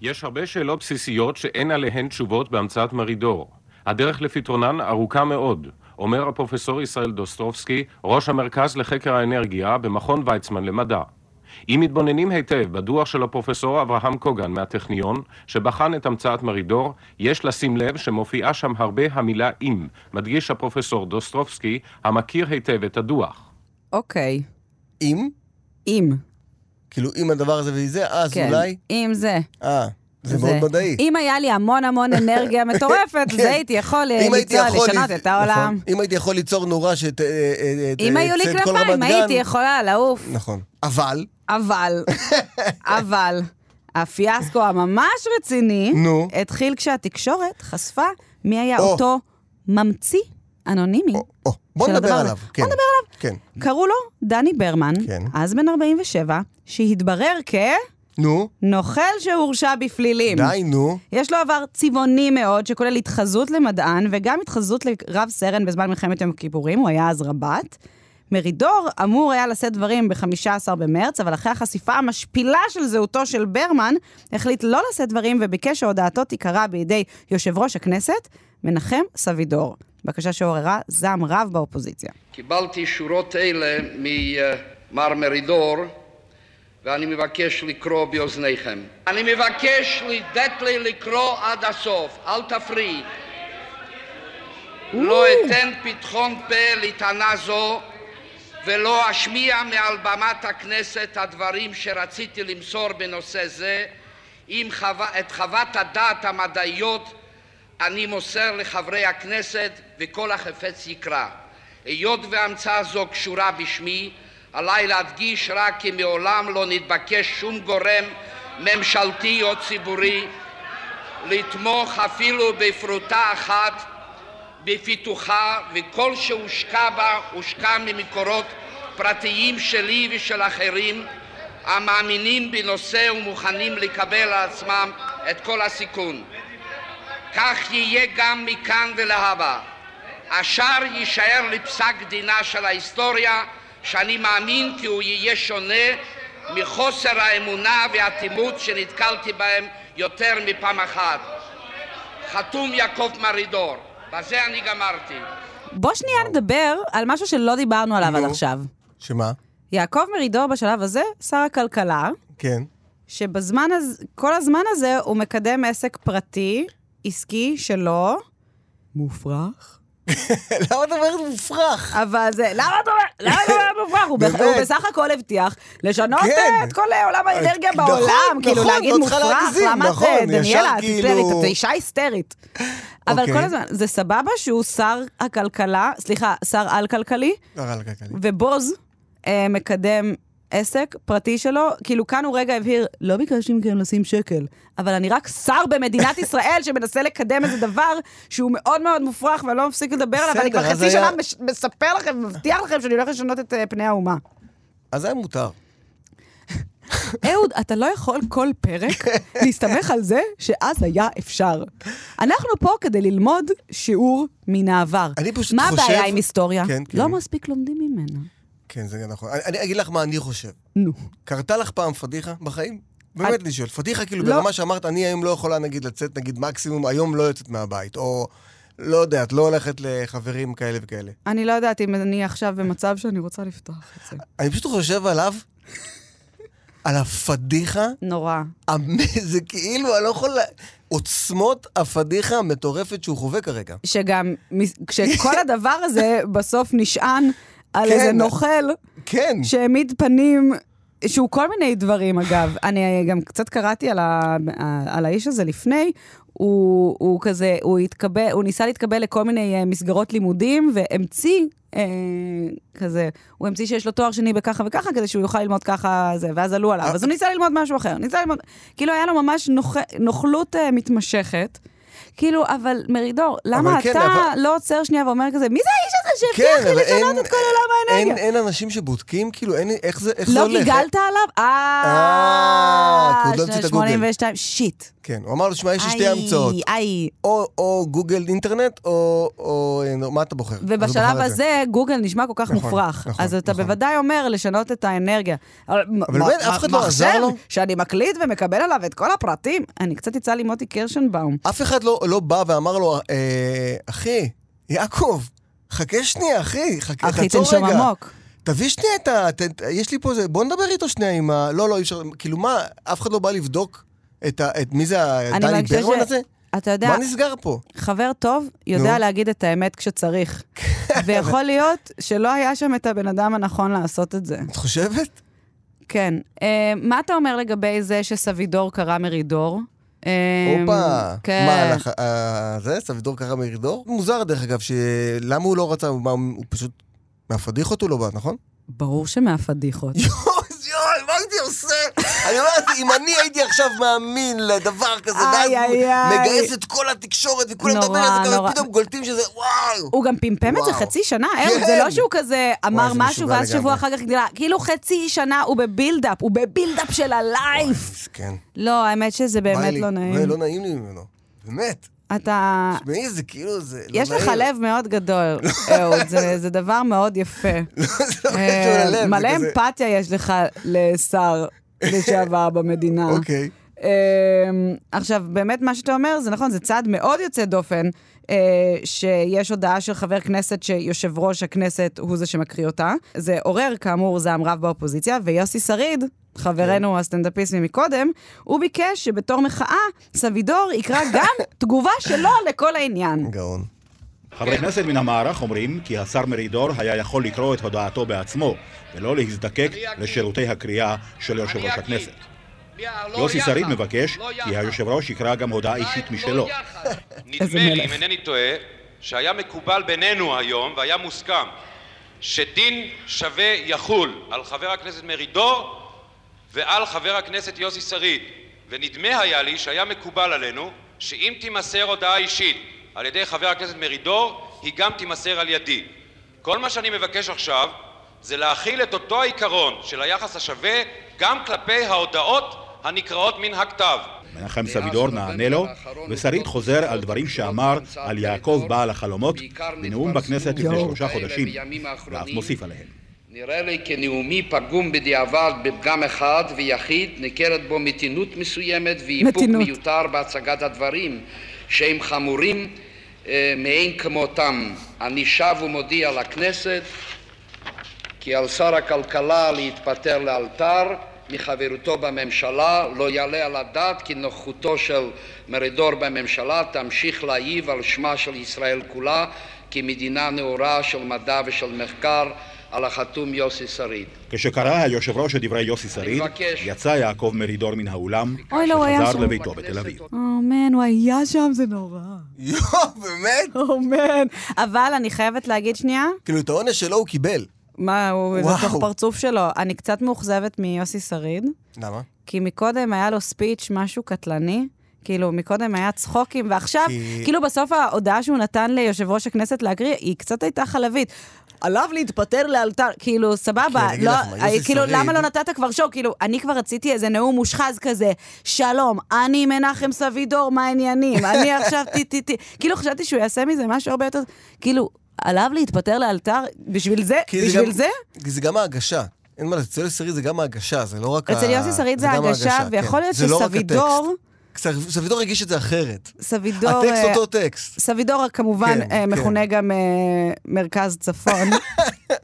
יש הרבה שאלות בסיסיות שאין עליהן תשובות בהמצאת מרידור. הדרך לפתרונן ארוכה מאוד, אומר הפרופסור ישראל דוסטרובסקי, ראש המרכז לחקר האנרגיה במכון ויצמן למדע. אם מתבוננים היטב בדוח של הפרופסור אברהם קוגן מהטכניון, שבחן את המצאת מרידור, יש לשים לב שמופיעה שם הרבה המילה אם, מדגיש הפרופסור דוסטרובסקי, המכיר היטב את הדוח. אוקיי. אם? אם. כאילו, אם הדבר הזה וזה, אז כן. אולי... אם זה. אה, זה מאוד מדעי. אם היה לי המון המון אנרגיה מטורפת, כן. זה הייתי יכול אה, אם הייתי ליצור, יכול לשנות ליצ- את העולם. נכון. אם הייתי יכול ליצור נורה שת... אה, אה, אם אה, היו לי תצא את כל כנפיים, רמת הייתי גן. יכולה לעוף. נכון. אבל, אבל, אבל, הפיאסקו הממש רציני, נו. התחיל כשהתקשורת חשפה מי היה או. אותו ממציא אנונימי. או, בוא של נדבר הדבר עליו. הזה. כן. בוא נדבר עליו. כן. קראו לו דני ברמן, כן. אז בן 47, שהתברר נו, כנוכל שהורשע בפלילים. די, נו. יש לו עבר צבעוני מאוד, שכולל התחזות למדען וגם התחזות לרב סרן בזמן מלחמת יום הכיפורים, הוא היה אז רב"ט. מרידור אמור היה לשאת דברים ב-15 במרץ, אבל אחרי החשיפה המשפילה של זהותו של ברמן, החליט לא לשאת דברים וביקש שהודעתו תיקרא בידי יושב ראש הכנסת, מנחם סבידור. בקשה שעוררה זעם רב באופוזיציה. קיבלתי שורות אלה ממר מרידור, ואני מבקש לקרוא באוזניכם. אני מבקש לתת לי לקרוא עד הסוף, אל תפריעי. לא אתן פתחון פה לטענה זו, ולא אשמיע מעל במת הכנסת הדברים שרציתי למסור בנושא זה. אם חו... את חוות הדעת המדעיות אני מוסר לחברי הכנסת וכל החפץ יקרא. היות והמצאה זו קשורה בשמי, עליי להדגיש רק כי מעולם לא נתבקש שום גורם ממשלתי או ציבורי לתמוך אפילו בפרוטה אחת בפיתוחה, וכל שהושקע בה הושקע ממקורות פרטיים שלי ושל אחרים המאמינים בנושא ומוכנים לקבל על עצמם את כל הסיכון. כך יהיה גם מכאן ולהבא. השאר יישאר לפסק דינה של ההיסטוריה, שאני מאמין כי הוא יהיה שונה מחוסר האמונה והאטימות שנתקלתי בהם יותר מפעם אחת. חתום יעקב מרידור. בזה אני גמרתי. בוא שנייה נדבר על משהו שלא דיברנו עליו עד עכשיו. שמה? יעקב מרידור בשלב הזה, שר הכלכלה, כן. שבזמן הזה, כל הזמן הזה הוא מקדם עסק פרטי, עסקי שלו. מופרך? למה אתה אומרת מופרך? אבל זה, למה אתה אומר, למה אתה אומר מופרך? הוא בח- הוא באמת. בסך הכל הבטיח לשנות כן. את כל אה, עולם האנרגיה נכון, בעולם. כאילו, נכון, להגיד לא צריכה מופרך, להגזים, למה נכון, את, אה, ישר דניאלה, את היסטרית, כאילו- את אישה היסטרית. אבל אוקיי. כל הזמן, זה סבבה שהוא שר אה, לא, הכלכלה, סליחה, שר על-כלכלי, קרה לכלכלי. ובוז אה, מקדם עסק פרטי שלו, כאילו כאן הוא רגע הבהיר, לא ביקשתי מכם לשים שקל, אבל אני רק שר במדינת ישראל שמנסה לקדם איזה דבר שהוא מאוד מאוד מופרך ואני לא מפסיק לדבר עליו, ואני כבר בסדר, אז חצי שנה היה- מש- מספר לכם, מבטיח לכם שאני הולך לשנות את אה, פני האומה. אז היה מותר. אהוד, אתה לא יכול כל פרק להסתמך על זה שאז היה אפשר. אנחנו פה כדי ללמוד שיעור מן העבר. אני פשוט מה חושב- מה הבעיה עם היסטוריה? כן, כן. לא מספיק לומדים ממנה. כן, זה נכון. אני, אני אגיד לך מה אני חושב. נו. קרתה לך פעם פדיחה בחיים? באמת אני שואל. פדיחה כאילו לא. ברמה שאמרת, אני היום לא יכולה נגיד לצאת, נגיד מקסימום, היום לא יוצאת מהבית, או לא יודע, את לא הולכת לחברים כאלה וכאלה. אני לא יודעת אם אני עכשיו במצב שאני רוצה לפתוח את זה. אני פשוט חושב עליו, על הפדיחה. נורא. זה כאילו, אני לא יכול... לה- עוצמות הפדיחה המטורפת שהוא חווה כרגע. שגם, מס- כשכל הדבר הזה בסוף נשען על כן. איזה נוכל, כן. שהעמיד פנים, שהוא כל מיני דברים אגב. אני גם קצת קראתי על, ה, על האיש הזה לפני, הוא, הוא כזה, הוא התקבל, הוא ניסה להתקבל לכל מיני אה, מסגרות לימודים, והמציא אה, כזה, הוא המציא שיש לו תואר שני בככה וככה, כדי שהוא יוכל ללמוד ככה זה, ואז עלו עליו. אז הוא ניסה ללמוד משהו אחר, ניסה ללמוד, כאילו היה לו ממש נוח, נוכלות אה, מתמשכת. כאילו, אבל מרידור, למה אבל כן, אתה אבל- לא עוצר שנייה ואומר כזה, מי זה האיש הזה כן, שהבטיח לי אבל לשנות אין- את כל עולם אין, האנרגיה? אין אנשים שבודקים, כאילו, אין, איך זה, איך זה לא הולך? גיגלת עליו? אה, כי אה, עוד לא המציא את של הגוגל. 82, שיט. כן, הוא אמר לו, שמע, יש לי שתי איי, המצאות. איי. או, או גוגל אינטרנט, או, או אה, מה אתה בוחר? אז הוא ובשלב בחר את זה. הזה גוגל נשמע כל כך נכון, מופרך. נכון, אז אתה בוודאי אומר לשנות את האנרגיה. אבל מ- באמת, מ- אף אחד לא עזר מחשב לו? שאני מקליט ומקבל עליו את כל הפרטים. אני קצת יצא לי מוטי קירשנבאום. אף אחד לא, לא בא ואמר לו, אה, אחי, יעקב, חכה שנייה, אחי, חכה, אחי, תעצור תנשום רגע. עמוק. תביא שנייה את ה... ת, ת- יש לי פה איזה... בוא נדבר איתו שנייה עם ה... לא, לא, אי אפשר... כאילו מה, אף אחד לא בא לבדוק את, ה, את מי זה, ה- אני דני מרגישה ברמן ש- הזה? אתה יודע... מה נסגר פה? חבר טוב יודע נו. כן. להגיד את האמת כשצריך. ויכול להיות שלא היה שם את הבן אדם הנכון לעשות את זה. את חושבת? כן. אה, מה אתה אומר לגבי זה שסבידור קרא מרידור? אה, הופה. כן. מה, לח... אה, זה, סבידור קרא מרידור? מוזר דרך אגב, שלמה הוא לא רצה, מה, הוא פשוט... מהפדיחות הוא לא בא, נכון? ברור שמהפדיחות. יואי, מה הייתי עושה? אני אומר, אם אני הייתי עכשיו מאמין לדבר כזה, ואז איי, איי, איי. מגייס את כל התקשורת, וכולם מדברים נורא, על זה, נורא. ופתאום גולטים שזה, וואו. הוא גם פמפם את זה וואו. חצי שנה, כן. אהוד, זה לא שהוא כזה אמר זה משהו משוגע ואז שבוע לגמרי. אחר כך גדלה, כאילו חצי שנה הוא בבילדאפ, הוא בבילדאפ של הלייף. כן. לא, האמת שזה בא באמת לי. לא נעים. לא נעים לי ממנו. באמת. אתה... תשמעי, זה כאילו, זה לא יש לך נעים. לב מאוד גדול, אהוד, זה- זה דבר מאוד יפה. לא, קשור אה, ללב, זה מלא כזה- אמפתיה יש לך לשר לשעבר במדינה. אוקיי. אמ, עכשיו, באמת מה שאתה אומר זה נכון, זה צעד מאוד יוצא דופן, אה, שיש הודעה של חבר כנסת שיושב ראש הכנסת הוא זה שמקריא אותה. זה עורר, כאמור, זעם רב באופוזיציה, ויוסי שריד, כן. חברנו הסטנדאפיסט מקודם, הוא ביקש שבתור מחאה, סבידור יקרא גם תגובה שלו לכל העניין. גאון. חברי כן. כנסת מן המערך אומרים כי השר מרידור היה יכול לקרוא את הודעתו בעצמו, ולא להזדקק לשירותי הקריאה של יושב ראש הכנסת. לא יוסי שריד מבקש כי היושב ראש יקרא גם הודעה אישית משלו. נדמה לי, אם אינני טועה, שהיה מקובל בינינו היום, והיה מוסכם, שדין שווה יחול על חבר הכנסת מרידור ועל חבר הכנסת יוסי שריד. ונדמה היה לי שהיה מקובל עלינו שאם תימסר הודעה אישית על ידי חבר הכנסת מרידור, היא גם תימסר על ידי. כל מה שאני מבקש עכשיו זה להכיל את אותו העיקרון של היחס השווה גם כלפי ההודעות הנקראות מן הכתב. מנחם סבידור נענה לו, ושריד חוזר על דברים שאמר על יעקב בעל החלומות בנאום בכנסת לפני יואו. שלושה חודשים, בימים ואף האחרונים מוסיף עליהם. נראה לי כנאומי פגום בדיעבד בפגם אחד ויחיד, ניכרת בו מתינות מסוימת ואיפוק מתינות. מיותר בהצגת הדברים, שהם חמורים אה, מאין כמותם. אני שב ומודיע לכנסת כי על שר הכלכלה להתפטר לאלתר מחברותו בממשלה, לא יעלה על הדעת כי נוכחותו של מרידור בממשלה תמשיך להעיב על שמה של ישראל כולה כמדינה נאורה של מדע ושל מחקר, על החתום יוסי שריד. כשקרא היושב ראש את דברי יוסי שריד, יצא יעקב מרידור מן האולם, אוי, לא, הוא היה וחזר שם. לביתו בתל אביב. אומן, הוא היה שם, זה נורא. יואו, באמת? אומן. אבל אני חייבת להגיד שנייה, כאילו, את העונש שלו הוא קיבל. מה, הוא, זה וואו. תוך פרצוף שלו. אני קצת מאוכזבת מיוסי שריד, למה? כי מקודם היה לו ספיץ' משהו קטלני. כאילו, מקודם היה צחוקים, ועכשיו, כי- כאילו בסוף ההודעה שהוא נתן ליושב ראש הכנסת להקריא, היא קצת הייתה חלבית. עליו להתפטר לאלתר, כאילו, סבבה, אני אגיד לא, לך מה, יוסי כאילו, שריד- למה לא נתת כבר שואו? כאילו, אני כבר רציתי איזה נאום מושחז כזה, שלום, אני מנחם סבידור, מה העניינים? אני עכשיו טי טי טי, כאילו חשבתי שהוא יעשה מזה משהו הרבה יותר, כאילו, עליו להתפטר לאלתר, בשביל זה? כי בשביל גם, זה? כי זה גם ההגשה. אין מה, לעשות, אצל יוסי שריד זה גם ההגשה, זה לא רק אצל יוסי שריד זה גם ההגשה, ההגשה, ויכול כן. להיות זה לא רק שסבידור- הטקסט. סב- סבידור הגיש את זה אחרת. סבידור... הטקסט אה, אותו טקסט. סבידור כמובן כן, אה, כן. מכונה גם אה, מרכז צפון.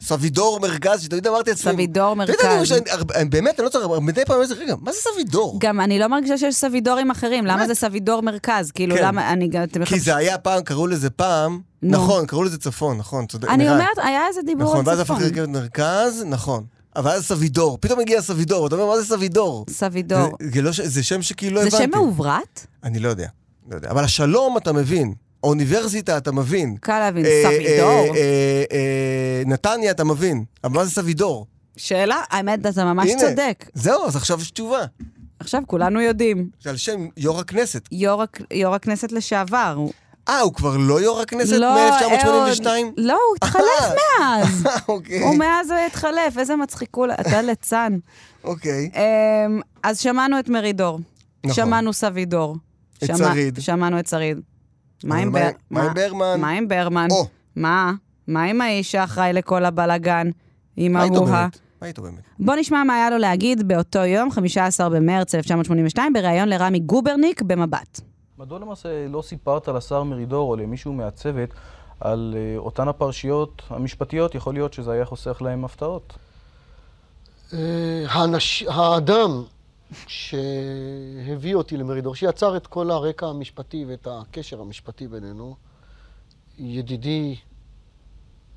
סבידור מרכז, שתמיד אמרתי לעצמי... סבידור אתה יודע, אני מרכז. שאני- הרבה- באמת, אני לא צריך, הרבה- מדי פעם אני אומר, רגע, מה זה סבידור? גם אני לא מרגישה שיש סבידורים אחרים, למה זה סבידור מרכז? כאילו, כן. למה אני גם... אתם כי מחפשים- זה היה פעם, קראו לזה פעם, נכון, קראו לזה צפון, נכון, צודק. אני מירב. אומרת, היה איזה דיבור נכון, על ואז הפך צפון. לרכבת מרכז, נכון. אבל אז סבידור, פתאום הגיע סבידור, אתה אומר, מה זה סבידור? סבידור. זה- זה לא ש- זה שם שכאילו לא זה הבנתי. שם מעוברת? אני לא יודע, לא יודע. אבל השלום אתה מבין, אוניברסיטה אתה מבין. קל להבין, אה, סבידור. אה, אה, אה, נתניה אתה מבין, אבל מה זה סבידור? שאלה, האמת, אתה ממש הנה, צודק. זהו, אז עכשיו יש תשובה. עכשיו כולנו יודעים. שעל שם יו"ר הכנסת. יו"ר הכ- יו"ר הכנסת לשעבר. הוא- אה, הוא כבר לא יו"ר הכנסת לא, מ-1982? אה, אהוד. לא, הוא התחלף מאז. אוקיי. הוא מאז התחלף, איזה מצחיקול, אתה ליצן. אמ, אוקיי. אז שמענו את מרידור. נכון. שמענו סבידור. את שמע- שריד. שמענו את שריד. מה אבל עם מה- בר- מה עם ברמן? מה עם ברמן? מה? מה עם האיש האחראי לכל הבלגן? עם מה איתו ההוא-הה? באמת? מה איתו באמת? בוא נשמע מה היה לו להגיד באותו יום, 15 במרץ 1982, בריאיון לרמי גוברניק במבט. מדוע למעשה לא סיפרת לשר מרידור או למישהו מהצוות על אה, אותן הפרשיות המשפטיות? יכול להיות שזה היה חוסך להם הפתעות. אה, הנש... האדם שהביא אותי למרידור, שיצר את כל הרקע המשפטי ואת הקשר המשפטי בינינו, ידידי,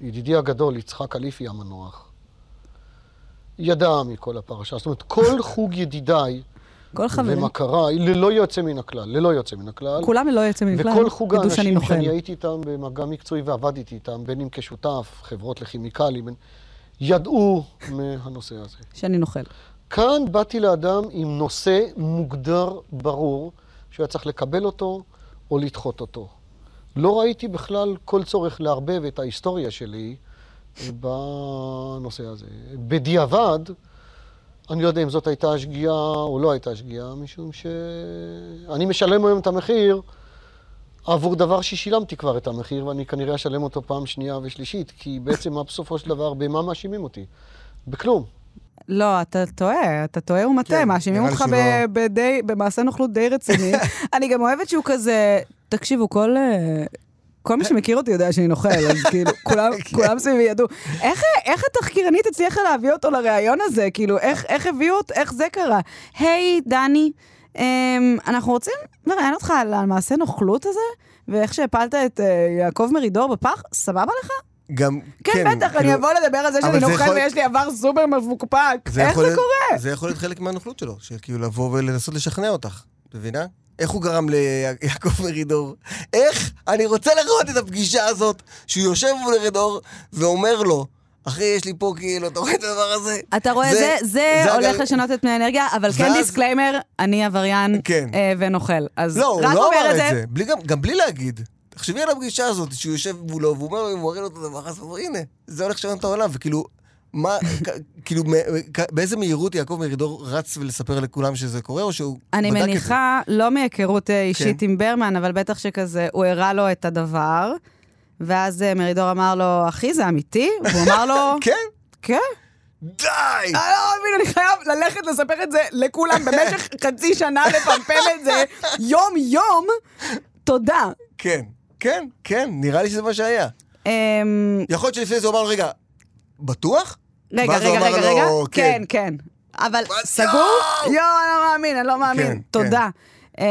ידידי הגדול, יצחק אליפי המנוח, ידע מכל הפרשה. זאת אומרת, כל חוג ידידיי כל חברים. ומכריי, ללא יוצא מן הכלל, ללא יוצא מן הכלל. כולם ללא יוצא מן הכלל וכל חוג ידעו שאני האנשים נוחם. שאני הייתי איתם במגע מקצועי ועבדתי איתם, בין אם כשותף, חברות לכימיקלים, בין- ידעו מהנושא הזה. שאני נוכל. כאן באתי לאדם עם נושא מוגדר, ברור, שהוא היה צריך לקבל אותו או לדחות אותו. לא ראיתי בכלל כל צורך לערבב את ההיסטוריה שלי אה, בנושא הזה. בדיעבד, אני לא יודע אם זאת הייתה שגיאה או לא הייתה שגיאה, משום שאני משלם היום את המחיר עבור דבר ששילמתי כבר את המחיר, ואני כנראה אשלם אותו פעם שנייה ושלישית, כי בעצם מה בסופו של דבר, במה מאשימים אותי? בכלום. לא, אתה טועה, אתה טועה ומטעה, כן, מאשימים נראה לי אותך שהוא ב- בדי- במעשה נוכלות די רציני. אני גם אוהבת שהוא כזה, תקשיבו, כל... אה, כל מי שמכיר אותי יודע שאני נוכל, אז כאילו, כולם, כן. כולם סביבי ידעו. איך, איך התחקירנית הצליחה להביא אותו לראיון הזה? כאילו, איך, איך הביאו אותו, איך זה קרה? היי, דני, אמ, אנחנו רוצים לראיין אותך על המעשה נוכלות הזה, ואיך שהפלת את אה, יעקב מרידור בפח, סבבה לך? גם, כן, בטח, אני כאילו- אבוא לדבר על זה אבל שאני זה נוכל יכול- ויש לי עבר סופר מפוקפק. איך יכול זה להיות- קורה? זה יכול להיות חלק מהנוכלות שלו, שכאילו לבוא ולנסות לשכנע אותך, את מבינה? איך הוא גרם ליעקב מרידור? איך? אני רוצה לראות את הפגישה הזאת, שהוא יושב מול מרידור ואומר לו, אחי, יש לי פה כאילו, אתה רואה את הדבר הזה? אתה רואה, זה, זה, הגל- הולך לשנות את פני האנרגיה, אבל כן ואז- דיסקליימר, אני עבריין כן. אה, ונוכל. אז לא, הוא רק לא אומר אמר את זה, בלי, גם, גם בלי להגיד. תחשבי על הפגישה הזאת, שהוא יושב מולו, והוא אומר, הוא מראה לו את הדבר הזה, והוא אומר, הנה, זה הולך לשנות את העולם, וכאילו, מה, כ- כאילו, מ- כ- באיזה מהירות יעקב מרידור רץ ולספר לכולם שזה קורה, או שהוא בדק את זה? אני מניחה, לא מהיכרות אה, אישית כן. עם ברמן, אבל בטח שכזה, הוא הראה לו את הדבר, ואז אה, מרידור אמר לו, אחי, זה אמיתי? והוא אמר לו... כן. כן. די! אני לא מבין, אני חייב ללכת לספר את זה לכולם במשך חצי שנה, לפמפם את זה יום-יום. תודה. כן, כן, כן, נראה לי שזה מה שהיה. יכול להיות שלפני זה הוא אמר לו, רגע, בטוח? אמ, רגע, ואז הוא רגע, אמר רגע, לו, רגע, כן. כן, כן. אבל סגור? יואו, אני לא מאמין, אני לא כן, מאמין. כן. תודה. אמ,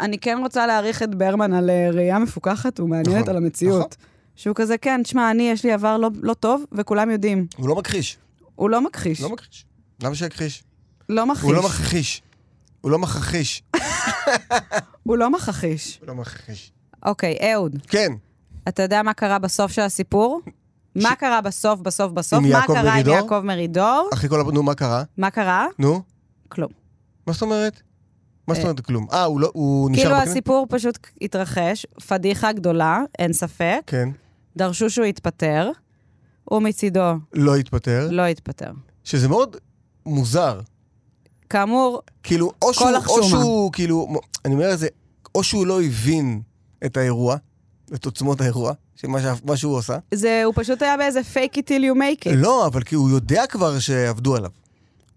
אני כן רוצה להעריך את ברמן על אה, ראייה מפוקחת נכון, ומעניינת על המציאות. שהוא כזה, כן, תשמע, אני, יש לי עבר לא- לא טוב, וכולם יודעים. הוא לא מכחיש. הוא לא מכחיש. לא מכחיש. למה שיכחיש? לא מכחיש. הוא לא מכחיש. הוא לא מכחיש. הוא לא מכחיש. הוא לא מכחיש. אוקיי, אהוד. כן. אתה יודע מה קרה בסוף של הסיפור? מה קרה בסוף, בסוף, בסוף? עם מה יעקב קרה עם מרידור? יעקב מרידור? אחרי כל ה... נו, מה קרה? מה קרה? נו? כלום. מה זאת אומרת? מה זאת אה, אומרת כלום? אה, הוא לא- הוא נשאר כאילו בכנסת? הסיפור פשוט התרחש, פדיחה גדולה, אין ספק. כן. דרשו שהוא יתפטר, הוא מצידו לא התפטר. לא התפטר. שזה מאוד מוזר. כאמור, כאילו, או כל שהוא, או החשומה. שהוא, כאילו, אני אומר את זה, או שהוא לא הבין את האירוע, את עוצמות האירוע, שמה שה- מה שהוא עשה. זה, הוא פשוט היה באיזה fake it till you make it. לא, אבל כי הוא יודע כבר שעבדו עליו.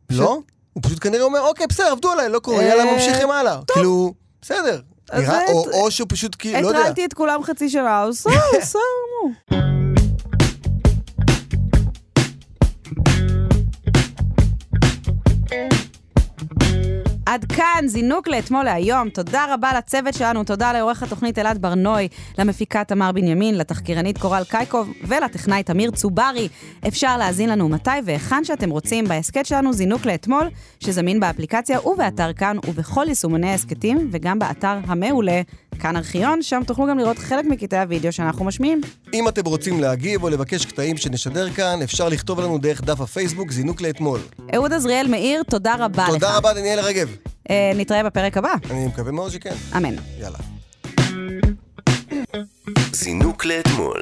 לא? הוא פשוט כנראה אומר, אוקיי, בסדר, עבדו עליי, לא קורה, אה, יאללה, ממשיכים הלאה. טוב. כאילו, בסדר. אז נראה- את- או או שהוא פשוט כאילו, לא יודע. הטרלתי את כולם חצי שנה, הוא סער, הוא סער, נו. עד כאן זינוק לאתמול להיום. תודה רבה לצוות שלנו, תודה לעורך התוכנית אלעד ברנוי, למפיקה תמר בנימין, לתחקירנית קורל קייקוב ולטכנאי תמיר צוברי. אפשר להאזין לנו מתי והיכן שאתם רוצים בהסכת שלנו זינוק לאתמול, שזמין באפליקציה ובאתר כאן ובכל יישומוני ההסכתים, וגם באתר המעולה, כאן ארכיון, שם תוכלו גם לראות חלק מקטעי הוידאו שאנחנו משמיעים. אם אתם רוצים להגיב או לבקש קטעים שנשדר כאן, אפשר לכתוב לנו דרך דף הפייסבוק זינוק לאתמול. אהוד עזריאל מאיר, תודה רבה לך. תודה רבה, דניאל רגב. אה, נתראה בפרק הבא. אני מקווה מאוד שכן. אמן. יאללה. זינוק לאתמול.